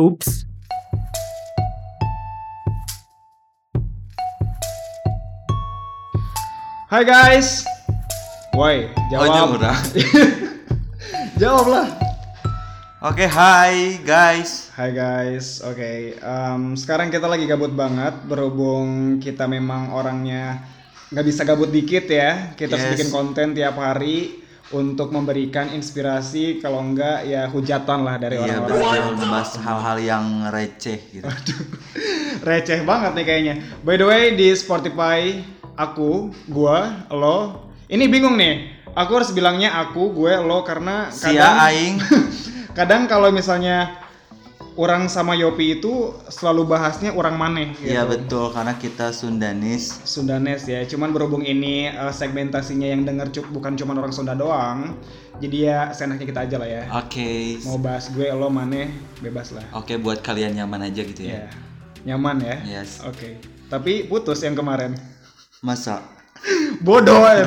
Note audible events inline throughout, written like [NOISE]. Oops. Hai guys. Woi, Ya, Oh, jawab. udah. Jawablah. [LAUGHS] Oke, hai guys. Hai guys. Oke, em, sekarang kita lagi gabut banget berhubung kita memang orangnya nggak bisa gabut dikit ya. Kita harus Yes. bikin konten tiap hari untuk memberikan inspirasi kalau enggak ya hujatan lah dari Iya orang-orang. betul membahas hal-hal yang receh gitu. Receh banget nih kayaknya. By the way, di Spotify aku, gua, lo. Ini bingung nih. Aku harus bilangnya aku, gue, lo karena Sia aing. kadang kalau misalnya orang sama Yopi itu selalu bahasnya orang maneh gitu. Iya betul karena kita Sundanis. Sundanes ya, cuman berhubung ini eh, segmentasinya yang denger cuk bukan cuman orang Sunda doang, jadi ya seenaknya kita aja lah ya. Oke. Mau bahas gue lo maneh bebas lah. Oke buat kalian nyaman aja gitu Ya. ya. Nyaman ya. Yes. Oke. Tapi putus yang kemarin. Masa Bodoh ya.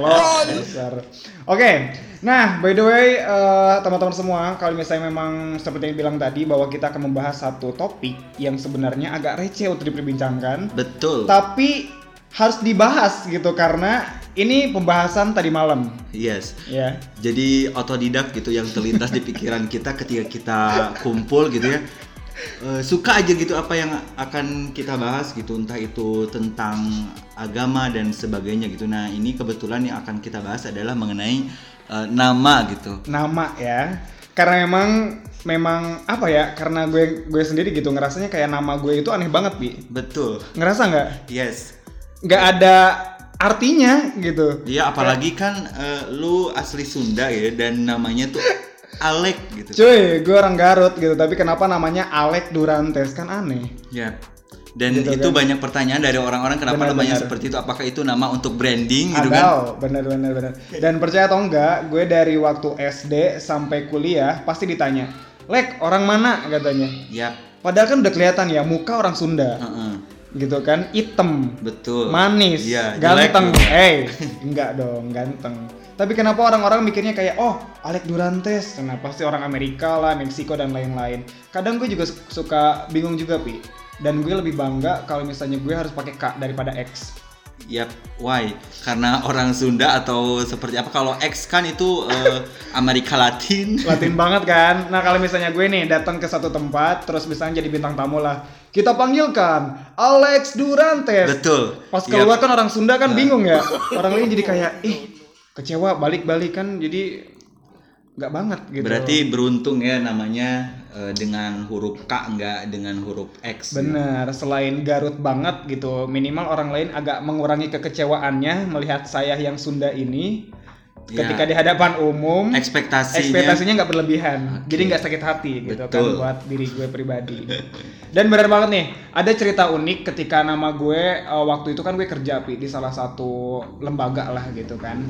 Lo dasar. Oke. Nah, by the way, eh, teman-teman semua, kalau misalnya memang seperti yang bilang tadi bahwa kita akan membahas satu topik yang sebenarnya agak receh untuk diperbincangkan, betul. tapi harus dibahas gitu karena ini pembahasan tadi malam, Yes. ya. Jadi otodidak gitu yang terlintas di pikiran kita ketika kita kumpul gitu ya. Eh, suka aja gitu apa yang akan kita bahas gitu entah itu tentang agama dan sebagainya gitu. Nah, ini kebetulan yang akan kita bahas adalah mengenai eh, nama gitu. Nama ya. Karena memang memang apa ya? Karena gue gue sendiri gitu ngerasanya kayak nama gue itu aneh banget, Bi. Betul. Ngerasa nggak? Yes. Nggak ada artinya gitu. Dia apalagi kan eh, lu asli Sunda ya dan namanya tuh Alek gitu. Cuy, gue orang Garut gitu, tapi kenapa namanya Alek Durantes kan aneh. Ya. Dan Gitu itu kan. banyak pertanyaan dari orang-orang kenapa Benar, namanya benar. seperti itu? Apakah itu nama untuk branding gitu kan? Adal, bener bener bener. Dan percaya atau enggak, gue dari waktu SD sampai kuliah pasti ditanya, Lek orang mana katanya. Yap. Padahal kan udah kelihatan ya muka orang Sunda, Heeh. gitu kan, item, Betul. manis, Iya, ganteng. jelek. [LAUGHS] Eh, enggak dong, ganteng. Tapi kenapa orang-orang mikirnya kayak, oh, Alek Durantes, kenapa pasti orang Amerika lah, Meksiko dan lain-lain. Kadang gue juga su- suka bingung juga, Pi. Dan gue lebih bangga kalau misalnya gue harus pakai K daripada X. Yap, why? Karena orang Sunda atau seperti apa? Kalau X kan itu eh, Amerika Latin. [LAUGHS] [LAUGHS] Latin banget kan. Nah kalau misalnya gue nih datang ke satu tempat, terus misalnya jadi bintang tamu lah, kita panggilkan Alex Durantes. Betul. Pas Yap. keluar kan orang Sunda kan bingung ya. Orang lain jadi kayak, ih kecewa balik-balik kan jadi nggak banget gitu. Berarti beruntung ya namanya eh, dengan huruf K enggak dengan huruf X. Bener, selain Garut banget gitu, minimal orang lain agak mengurangi kekecewaannya melihat saya yang Sunda ini Ya. ketika di hadapan umum. Ekspektasinya. ekspektasinya nggak berlebihan jadi nggak sakit hati gitu kan Betul. buat diri gue pribadi dan benar banget nih ada cerita unik ketika nama gue eh, waktu itu kan gue kerja Pi, di salah satu lembaga lah gitu kan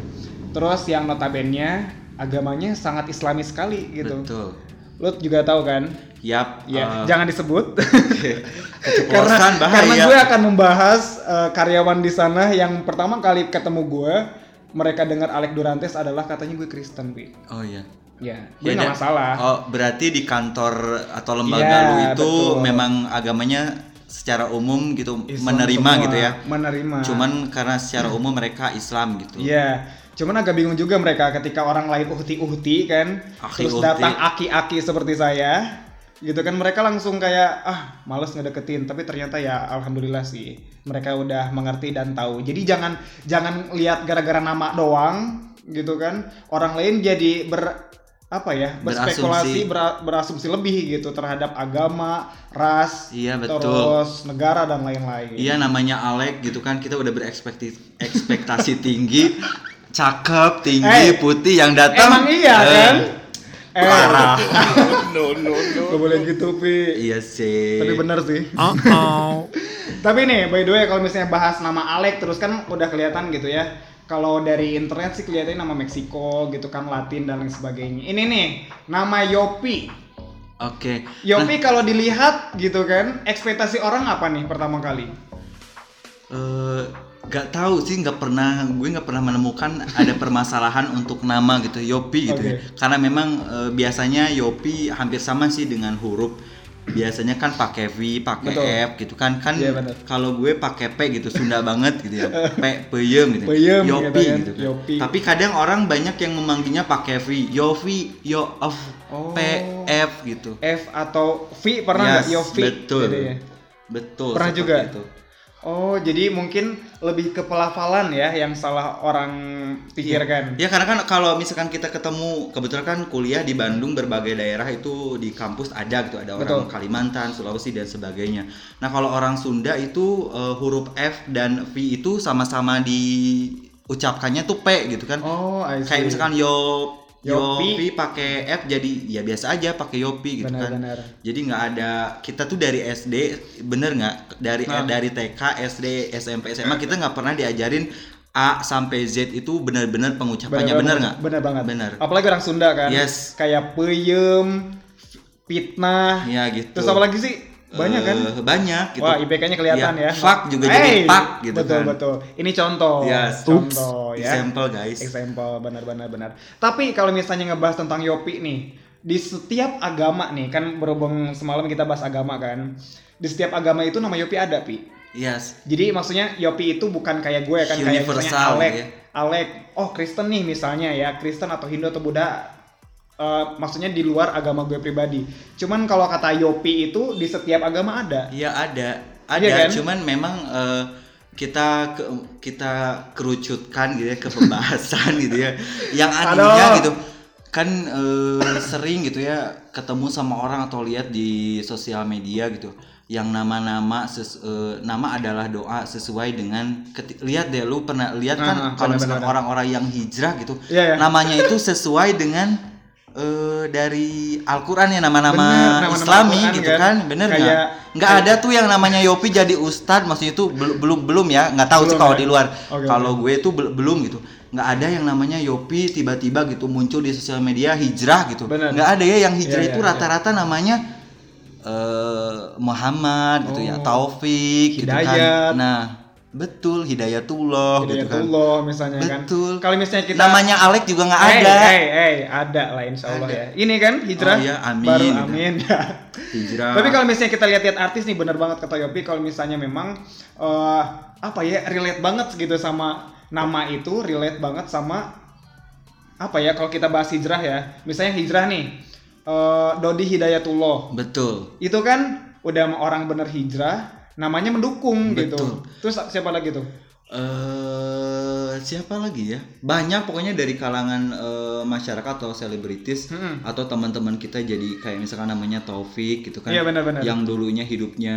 terus yang notabennya agamanya sangat islami sekali gitu Betul. lo juga tahu kan Yap. ya [LAUGHS] eh, jangan disebut keceplosan bahaya. karena gue akan membahas eh, karyawan di sana yang pertama kali ketemu gue mereka dengar Alek Durantes adalah katanya gue Kristen Pi. Oh iya. Ya, gue Ya, nggak dan- masalah. Oh, berarti di kantor atau lembaga Iya, lu itu betul. memang agamanya secara umum gitu Islam menerima semua, gitu ya. Menerima. Cuman karena secara umum mereka Islam gitu. Iya. Cuman agak bingung juga mereka ketika orang lain uhti-uhti kan, Aki terus uhti. datang aki-aki seperti saya, gitu kan mereka langsung kayak ah males ngedeketin tapi ternyata ya alhamdulillah sih mereka udah mengerti dan tahu jadi jangan jangan lihat gara-gara nama doang gitu kan orang lain jadi ber apa ya berspekulasi Berasumsi. bera- berasumsi lebih gitu terhadap agama ras Iya, betul. terus negara dan lain-lain Iya namanya Alek gitu kan kita udah berekspektasi ekspektasi tinggi, cakep, tinggi, Eh, putih yang datang. Emang iya eh, kan? Eh, Parah. Gak boleh gitu, Pi. iya sih. Tapi bener sih. Tapi nih, by the way, kalau misalnya bahas nama Alek terus kan udah kelihatan gitu ya. Kalau dari internet sih kelihatannya nama Meksiko gitu kan, Latin dan lain sebagainya. Ini nih, nama Yopi. Oke. Nah, Yopi kalau dilihat gitu kan, ekspektasi orang apa nih pertama kali? Eh, Gak tahu sih, nggak pernah gue nggak pernah menemukan ada permasalahan [LAUGHS] untuk nama gitu Yopi gitu ya. Karena memang eh, biasanya Yopi hampir sama sih dengan huruf biasanya kan pakai V, pakai Betul. F gitu kan kan Iya, benar. kalau gue pakai P gitu Sunda banget [LAUGHS] gitu ya. P peyem gitu. Peyem, Yopi gitu kan. gitu. kan. Yopi. Tapi kadang orang banyak yang memanggilnya pakai V, Yofi, Yo of Oh. P F gitu. F atau V pernah nggak Yes, Yofi? Betul. jadinya? Betul. Pernah seperti juga? itu. Oh, jadi mungkin lebih ke pelafalan ya yang salah orang pikirkan. Ya karena kan kalau misalkan kita ketemu kebetulan kan kuliah di Bandung berbagai daerah itu di kampus ada gitu ada Betul. orang Kalimantan, Sulawesi dan sebagainya. Nah kalau orang Sunda itu eh, huruf F dan V itu sama-sama diucapkannya tuh P gitu kan. Oh, I see. Kayak misalkan yo Yopi. Yopi pakai F jadi ya biasa aja pakai Yopi gitu kan. benar-benar. Jadi nggak ada kita tuh dari SD bener nggak dari Nah. dari TK, SD, SMP, SMA kita nggak pernah diajarin A sampai Z itu benar-benar pengucapannya bener nggak? Bener banget. Bener. Apalagi orang Sunda kan. Yes. Kayak peyem, fitnah. Iya gitu. Terus apa lagi sih? Banyak kan? Eh, banyak. Gitu. Wah, IPK-nya kelihatan ya. Iya, Fuck juga Hey, jadi pak gitu betul, kan. Betul, Ini contoh. Yes. Contoh Oops. ya. Example guys. Example, benar-benar benar. Tapi kalau misalnya ngebahas tentang Yopi nih, di setiap agama nih, kan berhubung semalam kita bahas agama kan, di setiap agama itu nama Yopi ada, Pi. Yes. Jadi maksudnya Yopi itu bukan kayak gue kan, kayak misalnya Universal, Alek. ya. Alek, oh Kristen nih misalnya ya, Kristen atau Hindu atau Buddha, eh, maksudnya di luar agama gue pribadi. Cuman kalau kata Yopi itu di setiap agama ada. Iya ada, ada. Iya kan? Cuman memang eh, kita ke, kita kerucutkan gitu ya ke pembahasan [LAUGHS] gitu ya. Yang artinya Aduh. gitu kan eh, sering gitu ya ketemu sama orang atau lihat di sosial media gitu yang nama-nama ses- eh, nama adalah doa sesuai dengan keti- lihat deh lu pernah lihat kan Ah, ah, kalau benar, misalkan benar. orang-orang yang hijrah gitu Iya, iya. namanya itu sesuai dengan eh, dari Al-Qur'an ya Benar, nama-nama nama-nama Islami Al-Qur'an gitu kan. kan bener nggak Kayak- nggak ada tuh yang namanya Yopi jadi ustadz maksudnya itu belum belum belum ya nggak tahu Belum sih kalau ya? di luar Oke, kalau gue tuh bel- belum gitu nggak ada yang namanya Yopi tiba-tiba gitu muncul di sosial media hijrah gitu Benar. nggak ada ya yang hijrah Iya, itu iya, rata-rata namanya eh Muhammad gitu ya Oh. Taufik gitu kan Hidayat. nah betul Hidayatullah, gitu kan Hidayatullah misalnya kan. Betul. Kalau misalnya kita Eh, namanya Alek juga nggak Hey, ada hey, hey, ada lah insya Allah Ada. ya. Ini kan hijrah. Oh iya, amin, Baru gitu. amin. ya. [LAUGHS] hijrah Tapi kalau misalnya kita lihat-lihat artis nih bener banget kata Yopi kalau misalnya memang eh, apa ya relate banget gitu sama nama itu relate banget sama apa ya kalau kita bahas hijrah ya. Misalnya hijrah nih eh, Dodi Hidayatullah. betul Itu kan udah sama orang bener hijrah namanya mendukung gitu. Betul. Terus siapa lagi tuh? eh siapa lagi ya? Banyak pokoknya dari kalangan eh, masyarakat atau selebritis Mm-mm. atau teman-teman kita jadi kayak misalkan namanya Taufik gitu kan. Iya, benar-benar. Yang dulunya hidupnya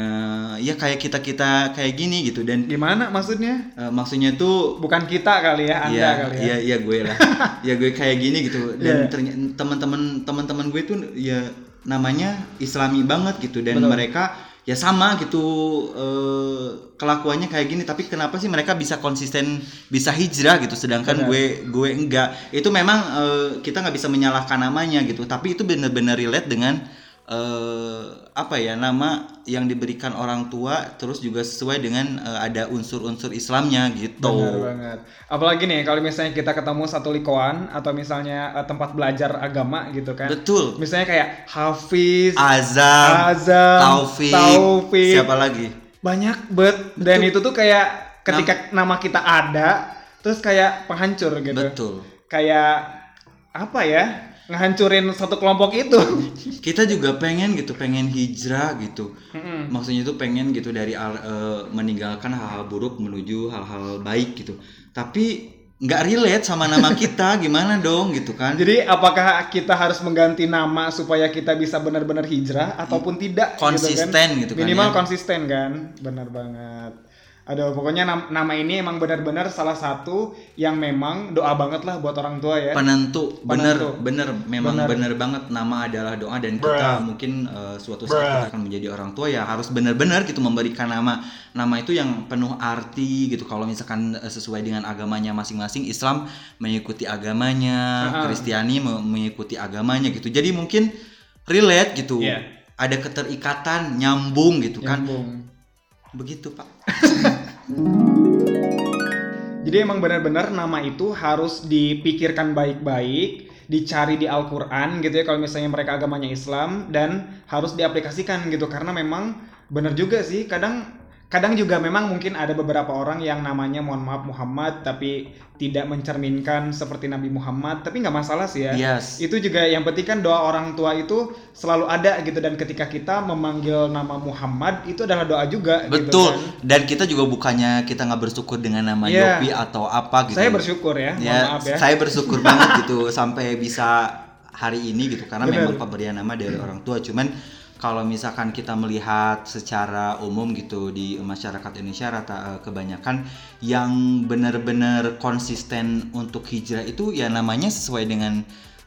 ya kayak kita-kita kayak gini gitu dan Gimana maksudnya? eh, maksudnya tuh Bukan kita kali ya, Anda ya kali ya. ya ya gue [LAUGHS] lah. ya gue kayak gini gitu Iya. dan ternya- teman-teman teman-teman gue tuh ya namanya islami banget gitu dan Betul. mereka ya sama gitu eh, kelakuannya kayak gini tapi kenapa sih mereka bisa konsisten bisa hijrah gitu sedangkan Benar. gue gue enggak itu memang eh, kita nggak bisa menyalahkan namanya gitu tapi itu benar-benar relate dengan eh, apa ya nama yang diberikan orang tua terus juga sesuai dengan eh, ada unsur-unsur Islamnya Benar gitu banget. Apalagi nih kalau misalnya kita ketemu satu likoan atau misalnya eh, tempat belajar agama gitu kan. betul Misalnya kayak Hafiz, Azam, Azam, Taufik, Taufik. siapa lagi? banyak bet dan itu tuh kayak ketika nama kita ada terus kayak penghancur gitu. Betul. Kayak apa ya? Ngehancurin satu kelompok itu. Kita juga pengen gitu, pengen hijrah gitu. Mm-mm. Maksudnya itu pengen gitu dari al- eh, meninggalkan hal-hal buruk menuju hal-hal baik gitu. Tapi nggak relate sama nama kita, gimana dong gitu kan? Jadi apakah kita harus mengganti nama supaya kita bisa benar-benar hijrah ataupun tidak? gitu kan? Mm. Konsisten gitu kan, Minimal ya. konsisten kan, benar banget. Aduh, pokoknya nam- nama ini emang benar-benar salah satu yang memang doa banget lah buat orang tua ya. Penentu, bener, Penentu. bener, memang Bener. bener banget nama adalah doa dan kita mungkin eh, suatu saat kita akan menjadi orang tua ya harus bener-bener gitu memberikan nama nama itu yang penuh arti gitu kalau misalkan eh, sesuai dengan agamanya masing-masing Islam mengikuti agamanya Ha-ha. Kristiani me- mengikuti agamanya gitu jadi mungkin relate gitu Iya. ada keterikatan nyambung gitu kan Nyambung. begitu pak Jadi emang benar-benar nama itu harus dipikirkan baik-baik dicari di Al-Qur'an gitu ya kalau misalnya mereka agamanya Islam dan harus diaplikasikan gitu karena memang bener juga sih kadang kadang juga memang mungkin ada beberapa orang yang namanya mohon maaf Muhammad tapi tidak mencerminkan seperti Nabi Muhammad tapi nggak masalah sih ya Yes. itu juga yang penting kan doa orang tua itu selalu ada gitu dan ketika kita memanggil nama Muhammad itu adalah doa juga gitu Betul. kan. Dan kita juga bukannya kita nggak bersyukur dengan nama Iya. Yopi atau apa gitu. Saya bersyukur ya, mohon Ya, maaf ya. saya [LAUGHS] bersyukur banget gitu sampai bisa hari ini gitu karena Benar. memang pemberian nama dari orang tua. Cuman kalau misalkan kita melihat secara umum gitu di masyarakat Indonesia rata eh, kebanyakan yang benar-benar konsisten untuk hijrah itu ya namanya sesuai dengan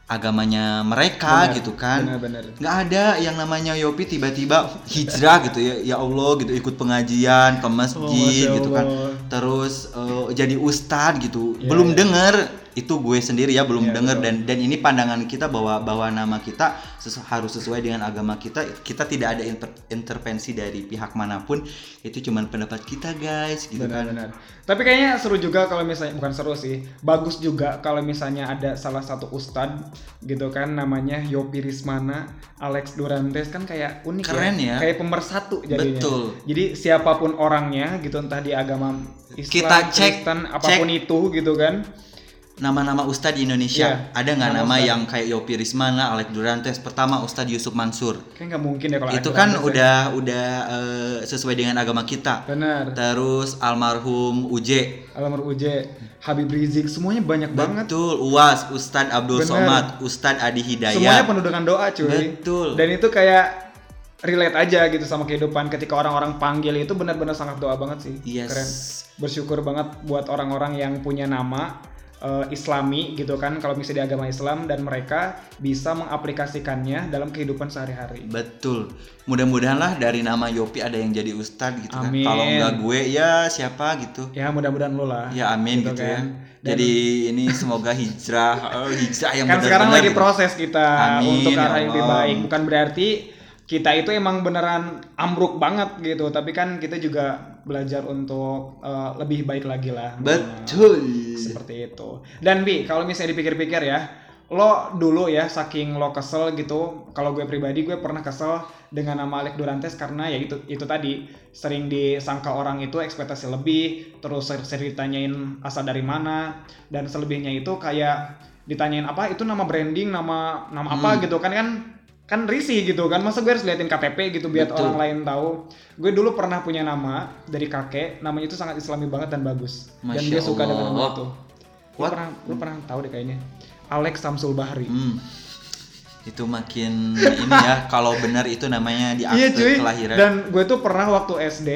agamanya mereka Benar, gitu kan benar-benar. nggak ada yang namanya Yopi tiba-tiba hijrah gitu ya ya Allah gitu ikut pengajian ke masjid Oh, Masya gitu kan Allah. terus eh, jadi ustadz gitu Iya, belum iya. denger itu gue sendiri ya belum Iya, denger betul. dan dan ini pandangan kita bahwa bahwa nama kita sesu- harus sesuai dengan agama kita kita tidak ada inter- intervensi dari pihak manapun itu cuman pendapat kita guys gitu kan Benar-benar. Tapi kayaknya seru juga kalau misalnya bukan seru sih, bagus juga kalau misalnya ada salah satu ustad gitu kan namanya Yopi Rismana, Alex Durantes kan kayak unik Keren ya. Kayak pemersatu jadinya. Betul. Jadi siapapun orangnya gitu entah di agama Islam, Kita cek, Kristen, apapun itu gitu kan. nama-nama ustadz di Iya, Indonesia ada nggak nama nama, ustadz. yang kayak Yopi Rismana, Alex Durantes pertama Ustadz Yusuf Mansur Kayak nggak mungkin ya kalau itu Alex kan Durantes ya. udah udah eh, sesuai dengan agama kita benar. terus almarhum Uje Alamur Uje, Habib Rizik, semuanya banyak banget. betul Uas Ustadz Abdul Bener. Somad Ustadz Adi Semuanya Hidayat penuh dengan doa cuy. Ya, Betul. Dan itu kayak relate aja gitu sama kehidupan ketika orang-orang panggil itu benar-benar sangat doa banget sih. yes Keren. Bersyukur banget buat orang-orang yang punya nama eh, Islami gitu kan kalau misalnya di agama Islam dan mereka bisa mengaplikasikannya dalam kehidupan sehari-hari. betul mudah-mudahan lah dari nama Yopi ada yang jadi Ustadz gitu Amin. kan kalau nggak gue ya siapa gitu Ya mudah-mudahan lu lah. ya amin Gitu gitu, ya kan. Dan- jadi ini semoga hijrah [LAUGHS] eh, hijrah yang kan sekarang benar-benar lagi gitu. proses kita Amin, untuk ke ya arah yang lebih Allah. baik. Bukan berarti kita itu emang beneran ambruk banget gitu, tapi kan kita juga belajar untuk eh, lebih baik lagi lah. betul Seperti itu. Dan Bi, kalau misalnya dipikir-pikir ya, lo dulu ya saking lo kesel gitu, kalau gue pribadi gue pernah kesel dengan nama Alec Durantes karena ya itu itu tadi sering disangka orang itu ekspektasi lebih, terus ser- sering ditanyain asal dari mana dan selebihnya itu kayak ditanyain apa itu nama branding, nama nama apa Hmm. gitu kan kan kan risih gitu kan masa gue harus liatin KTP gitu biar Betul. orang lain tahu gue dulu pernah punya nama dari kakek namanya itu sangat islami banget dan bagus dan Masya dia suka dengan nama Allah. itu lu What? pernah lu pernah tahu deh kayaknya Alex Samsul Bahri Hmm. Itu makin ini ya [LAUGHS] kalau benar itu namanya di akte iya cuy kelahiran. dan gue tuh pernah waktu SD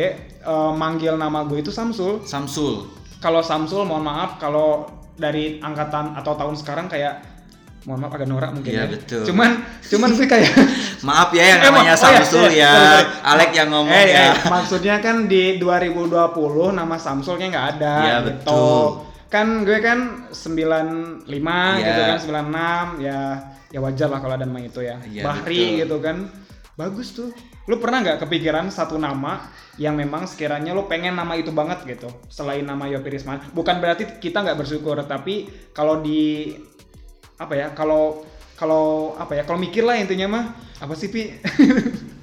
eh, manggil nama gue itu Samsul Samsul. kalau Samsul mohon maaf kalau dari angkatan atau tahun sekarang kayak mohon maaf agak norak mungkin Iya, ya betul. cuman cuman gue kayak [LAUGHS] Maaf ya yang Eh, ma- namanya oh ya, Samsul iya, ya. sorry, sorry. Alek yang ngomong Eh, ya. eh, maksudnya kan di 2020 nama Samsulnya nggak ada Iya, gitu. betul. Kan gue kan 95 Iya. gitu kan 96 ya ya wajar lah kalau ada nama itu ya. Iya, Bahri betul. gitu kan. Bagus tuh. Lu pernah nggak kepikiran satu nama yang memang sekiranya lu pengen nama itu banget gitu selain nama Yopi Risman. Bukan berarti kita nggak bersyukur tapi kalau di apa ya kalau kalau apa ya kalau mikir lah intinya mah apa sih pi [LAUGHS]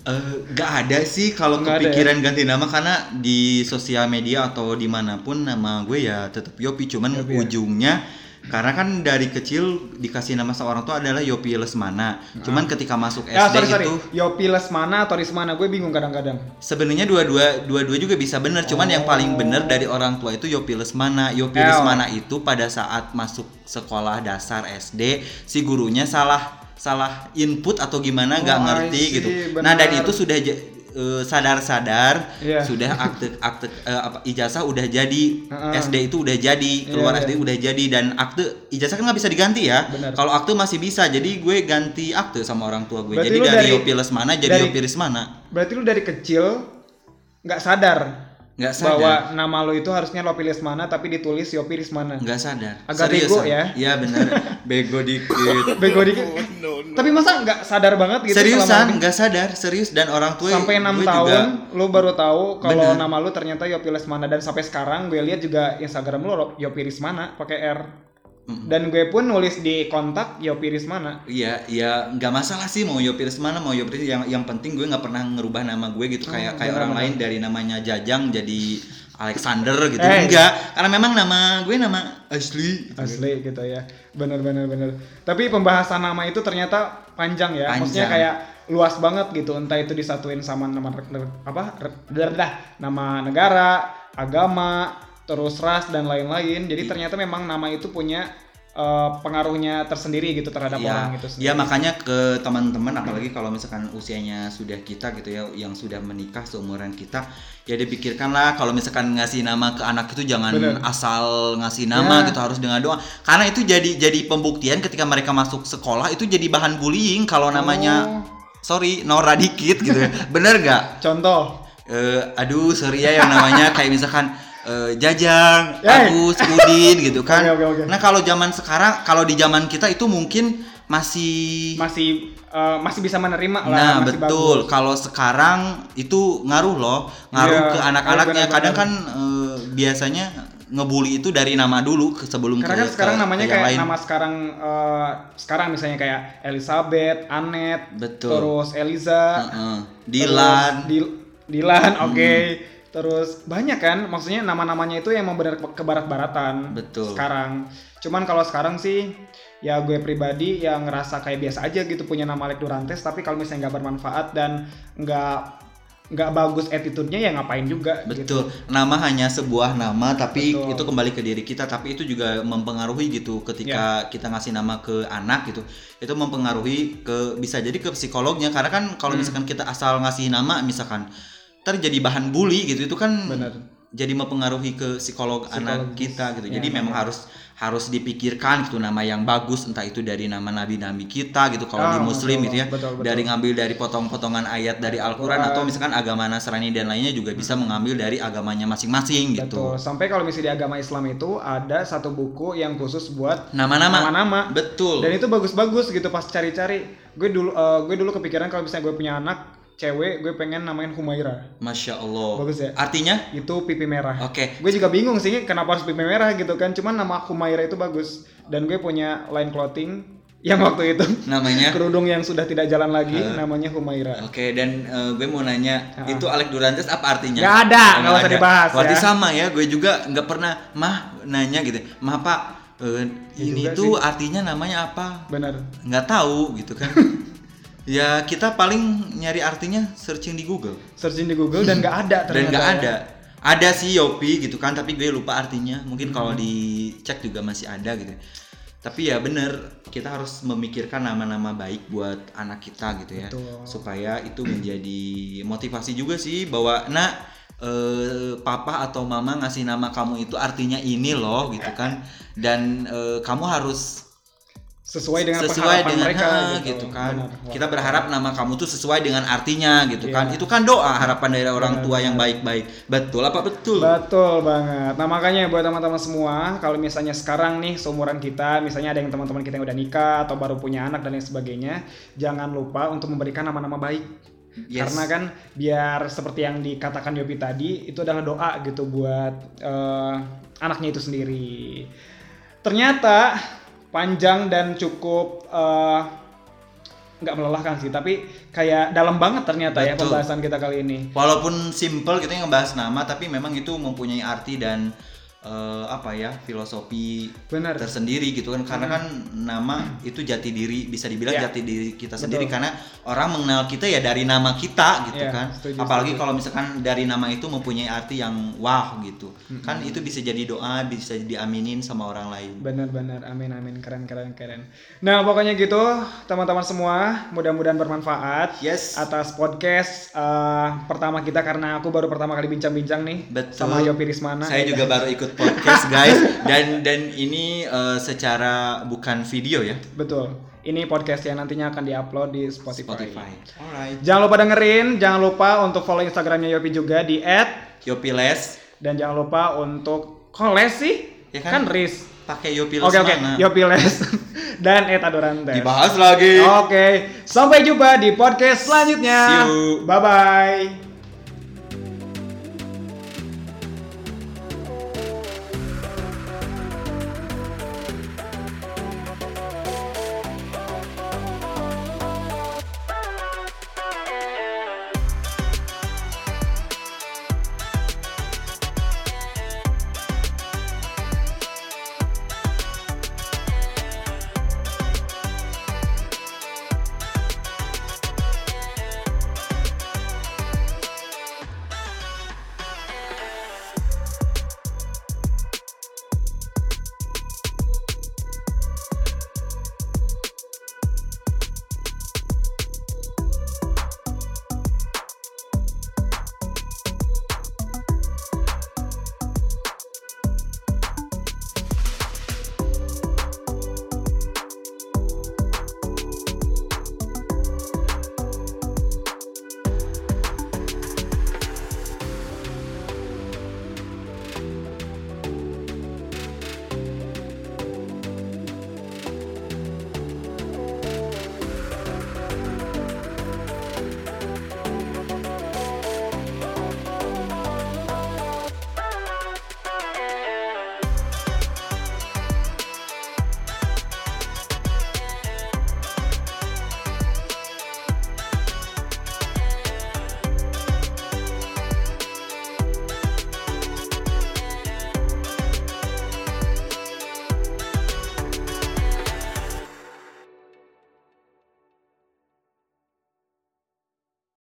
Eh, nggak ada sih kalau Nggak ada ya? kepikiran ganti nama karena di sosial media atau dimanapun nama gue ya tetap Yopi cuman Yopi ya. ujungnya karena kan dari kecil dikasih nama seorang tuh adalah Yopi Lesmana. Cuman ketika masuk SD Ya, Ah. sorry, sorry. itu Yopi Lesmana atau Rismana? Gue bingung kadang-kadang. Sebenarnya dua-dua dua-dua juga bisa bener, cuman yang paling bener dari orang tua itu Yopi Lesmana. Yopi L. Lesmana itu pada saat masuk sekolah dasar SD, si gurunya salah salah input atau gimana nggak Oh, I ngerti see, gitu. Nah, dan benar. itu sudah ja- eh, sadar-sadar Iya. sudah akte akte eh, apa ijazah udah jadi, Heeh. SD itu udah jadi, keluar Iya, SD udah jadi dan akte ijazah kan nggak bisa diganti ya. Benar. Kalau akte masih bisa. Jadi gue ganti akte sama orang tua gue. Berarti jadi lu dari, dari- Yopi Lesmana jadi dari- Yopi Rismana. Berarti lu dari kecil nggak sadar, Nggak sadar. bahwa nama lu itu harusnya Yopi Lesmana tapi ditulis Yopi Rismana. nggak sadar Agak bego Sam. ya. iya [LAUGHS] benar bego dikit Bego dikit. Tapi masa nggak sadar banget gitu seriusan selama nggak sadar serius dan orang tua sampai enam gue tahun lu baru tahu kalau Benar. nama lu ternyata Yopi Lesmana dan sampai sekarang gue lihat juga Instagram lu Yopi Rismana pakai R. juga Dan gue pun nulis di kontak Yopi Rismana. Iya, iya nggak masalah sih mau Yopiris mana, mau Yopiris yang yang penting gue nggak pernah ngerubah nama gue gitu Oh, kayak kayak orang lain dari namanya Jajang jadi Alexander gitu. Eh. Enggak, karena memang nama gue nama asli. Asli gitu ya. Bener bener bener. Tapi pembahasan nama itu ternyata panjang ya. Maksudnya Panjang. kayak luas banget gitu. Entah itu disatuin sama nama re- re- apa? re- dah- dah. nama negara, agama, terus ras dan lain-lain. Jadi Iya. ternyata memang nama itu punya eh, pengaruhnya tersendiri gitu terhadap orang Iya, itu iya sendiri. makanya ke teman-teman apalagi kalau misalkan usianya sudah kita gitu ya yang sudah menikah seumuran kita ya dipikirkanlah kalau misalkan ngasih nama ke anak itu jangan Bener. asal ngasih nama Ya. gitu harus dengan doa karena itu jadi jadi pembuktian ketika mereka masuk sekolah itu jadi bahan bullying kalau Oh. namanya sorry Nora dikit gitu ya. bener gak? Contoh. Eh, aduh sorry ya yang namanya kayak misalkan eh, Jajang, Hey. Agus, Udin gitu kan. Oke, oke, oke. Nah kalau zaman sekarang, kalau di zaman kita itu mungkin masih Masih eh, masih bisa menerima lah. Nah masih betul, kalau sekarang itu ngaruh loh, ngaruh Iya, ke anak-anaknya. benar-benar. Kadang kan eh, biasanya ngebully itu dari nama dulu ke sebelum Karena ke- kan sekarang ke- namanya ke yang kayak lain. nama sekarang eh, sekarang misalnya kayak Elizabeth, Anet, Betul. terus Eliza, Heeh. Dilan, Hmm. terus Dil- Dilan, oke. Terus banyak kan, maksudnya nama-namanya itu yang benar ke barat-baratan. Betul. Sekarang. Cuman kalau sekarang sih ya gue pribadi yang ngerasa kayak biasa aja gitu punya nama Alek Durantes tapi kalau misalnya nggak bermanfaat dan nggak nggak bagus attitude-nya ya ngapain juga gitu. Betul. Nama hanya sebuah nama tapi Betul. itu kembali ke diri kita tapi itu juga mempengaruhi gitu Ya. ketika kita ngasih nama ke anak gitu. Itu mempengaruhi ke bisa jadi ke psikolognya karena kan kalau Hmm. misalkan kita asal ngasih nama misalkan terjadi bahan bully gitu itu kan Benar. jadi mempengaruhi ke psikolog anak Psikologis. kita gitu. Jadi Ya, memang harus harus dipikirkan gitu nama yang bagus entah itu dari nama nabi-nabi kita gitu Ah, kalau di muslim betul, gitu ya betul, betul. dari ngambil dari potong-potongan ayat dari Al-Qur'an Al-Qur'an. atau misalkan agama Nasrani dan lainnya juga bisa mengambil dari agamanya Hmm. masing-masing Betul. gitu. Sampai kalau misalnya di agama Islam itu ada satu buku yang khusus buat Nama-nama. nama-nama. Betul. Dan itu bagus-bagus gitu pas cari-cari. Gue dulu eh, gue dulu kepikiran kalau misalnya gue punya anak cewek, gue pengen namain Humaira. Masya Allah. Bagus ya? Artinya? Itu pipi merah. Oke. Gue juga bingung sih kenapa harus pipi merah gitu kan. Cuman nama Humaira itu bagus dan gue punya line clothing yang waktu itu Namanya kerudung yang sudah tidak jalan lagi namanya Humaira. Ya. Oke, dan eh, gue mau nanya, itu Alek Durantes apa artinya? Ah. Nggak ada, Oh, nggak usah ada. dibahas Berarti ya. sama ya, gue juga nggak pernah mah nanya gitu. Mah Pak, eh, ini Ya juga tuh artinya namanya apa? Benar. Nggak tahu gitu [LAUGHS] kan. ya kita paling nyari artinya searching di Google Searching di Google dan nggak ada Iya, ternyata. ya. dan nggak ada. Ada sih Yopi gitu kan, tapi gue lupa artinya. Mungkin kalau Hmm. dicek juga masih ada gitu. Tapi ya bener, kita harus memikirkan nama-nama baik buat anak kita gitu ya. Betul. Supaya itu menjadi motivasi juga sih bahwa nak eh, papa atau mama ngasih nama kamu itu artinya ini loh gitu kan. Dan eh, kamu harus Sesuai dengan sesuai pengharapan dengan mereka ha, gitu, kan Benar. Wah. kita berharap nama kamu tuh sesuai dengan artinya gitu Iya. kan itu kan doa harapan dari orang Benar, tua yang baik-baik betul apa betul Betul banget. Nah makanya buat teman-teman semua, kalau misalnya sekarang nih seumuran kita, misalnya ada yang teman-teman kita yang udah nikah atau baru punya anak dan lain sebagainya, jangan lupa untuk memberikan nama-nama baik. Yes. Karena kan biar seperti yang dikatakan Yopi tadi, itu adalah doa gitu buat eh, anaknya itu sendiri. Ternyata panjang dan cukup eh, nggak melelahkan sih, tapi kayak dalam banget ternyata ya Betul. pembahasan kita kali ini. walaupun simple kita ngebahas nama tapi memang itu mempunyai arti dan eh, apa ya filosofi Benar. tersendiri gitu kan karena kan nama itu jati diri bisa dibilang Hmm. Ya. jati diri kita Betul. sendiri karena orang mengenal kita ya dari nama kita gitu Ya, kan setuju, apalagi setuju. kalau misalkan dari nama itu mempunyai arti yang wow gitu Hmm. kan itu bisa jadi doa bisa diaminin sama orang lain Benar-benar, amin amin, keren keren keren. Nah pokoknya gitu teman-teman semua, mudah-mudahan bermanfaat Yes. atas podcast eh, pertama kita karena aku baru pertama kali bincang-bincang nih Betul. sama Yopi Rismana. Saya juga baru ikut podcast guys dan dan ini eh, secara bukan video ya Betul. Ini podcast yang nantinya akan diupload di Spotify. Spotify. Alright. Jangan lupa dengerin, jangan lupa untuk follow Instagramnya Yopi juga di @dan Yopiles jangan lupa untuk koles sih, Ya kan, kan? Riz. pakai Yopiles Oke oke, mana? Yopi Oh, Les [LAUGHS] dan Etadorantes. Dibahas lagi. Oke, sampai jumpa di podcast selanjutnya. See you. Bye bye.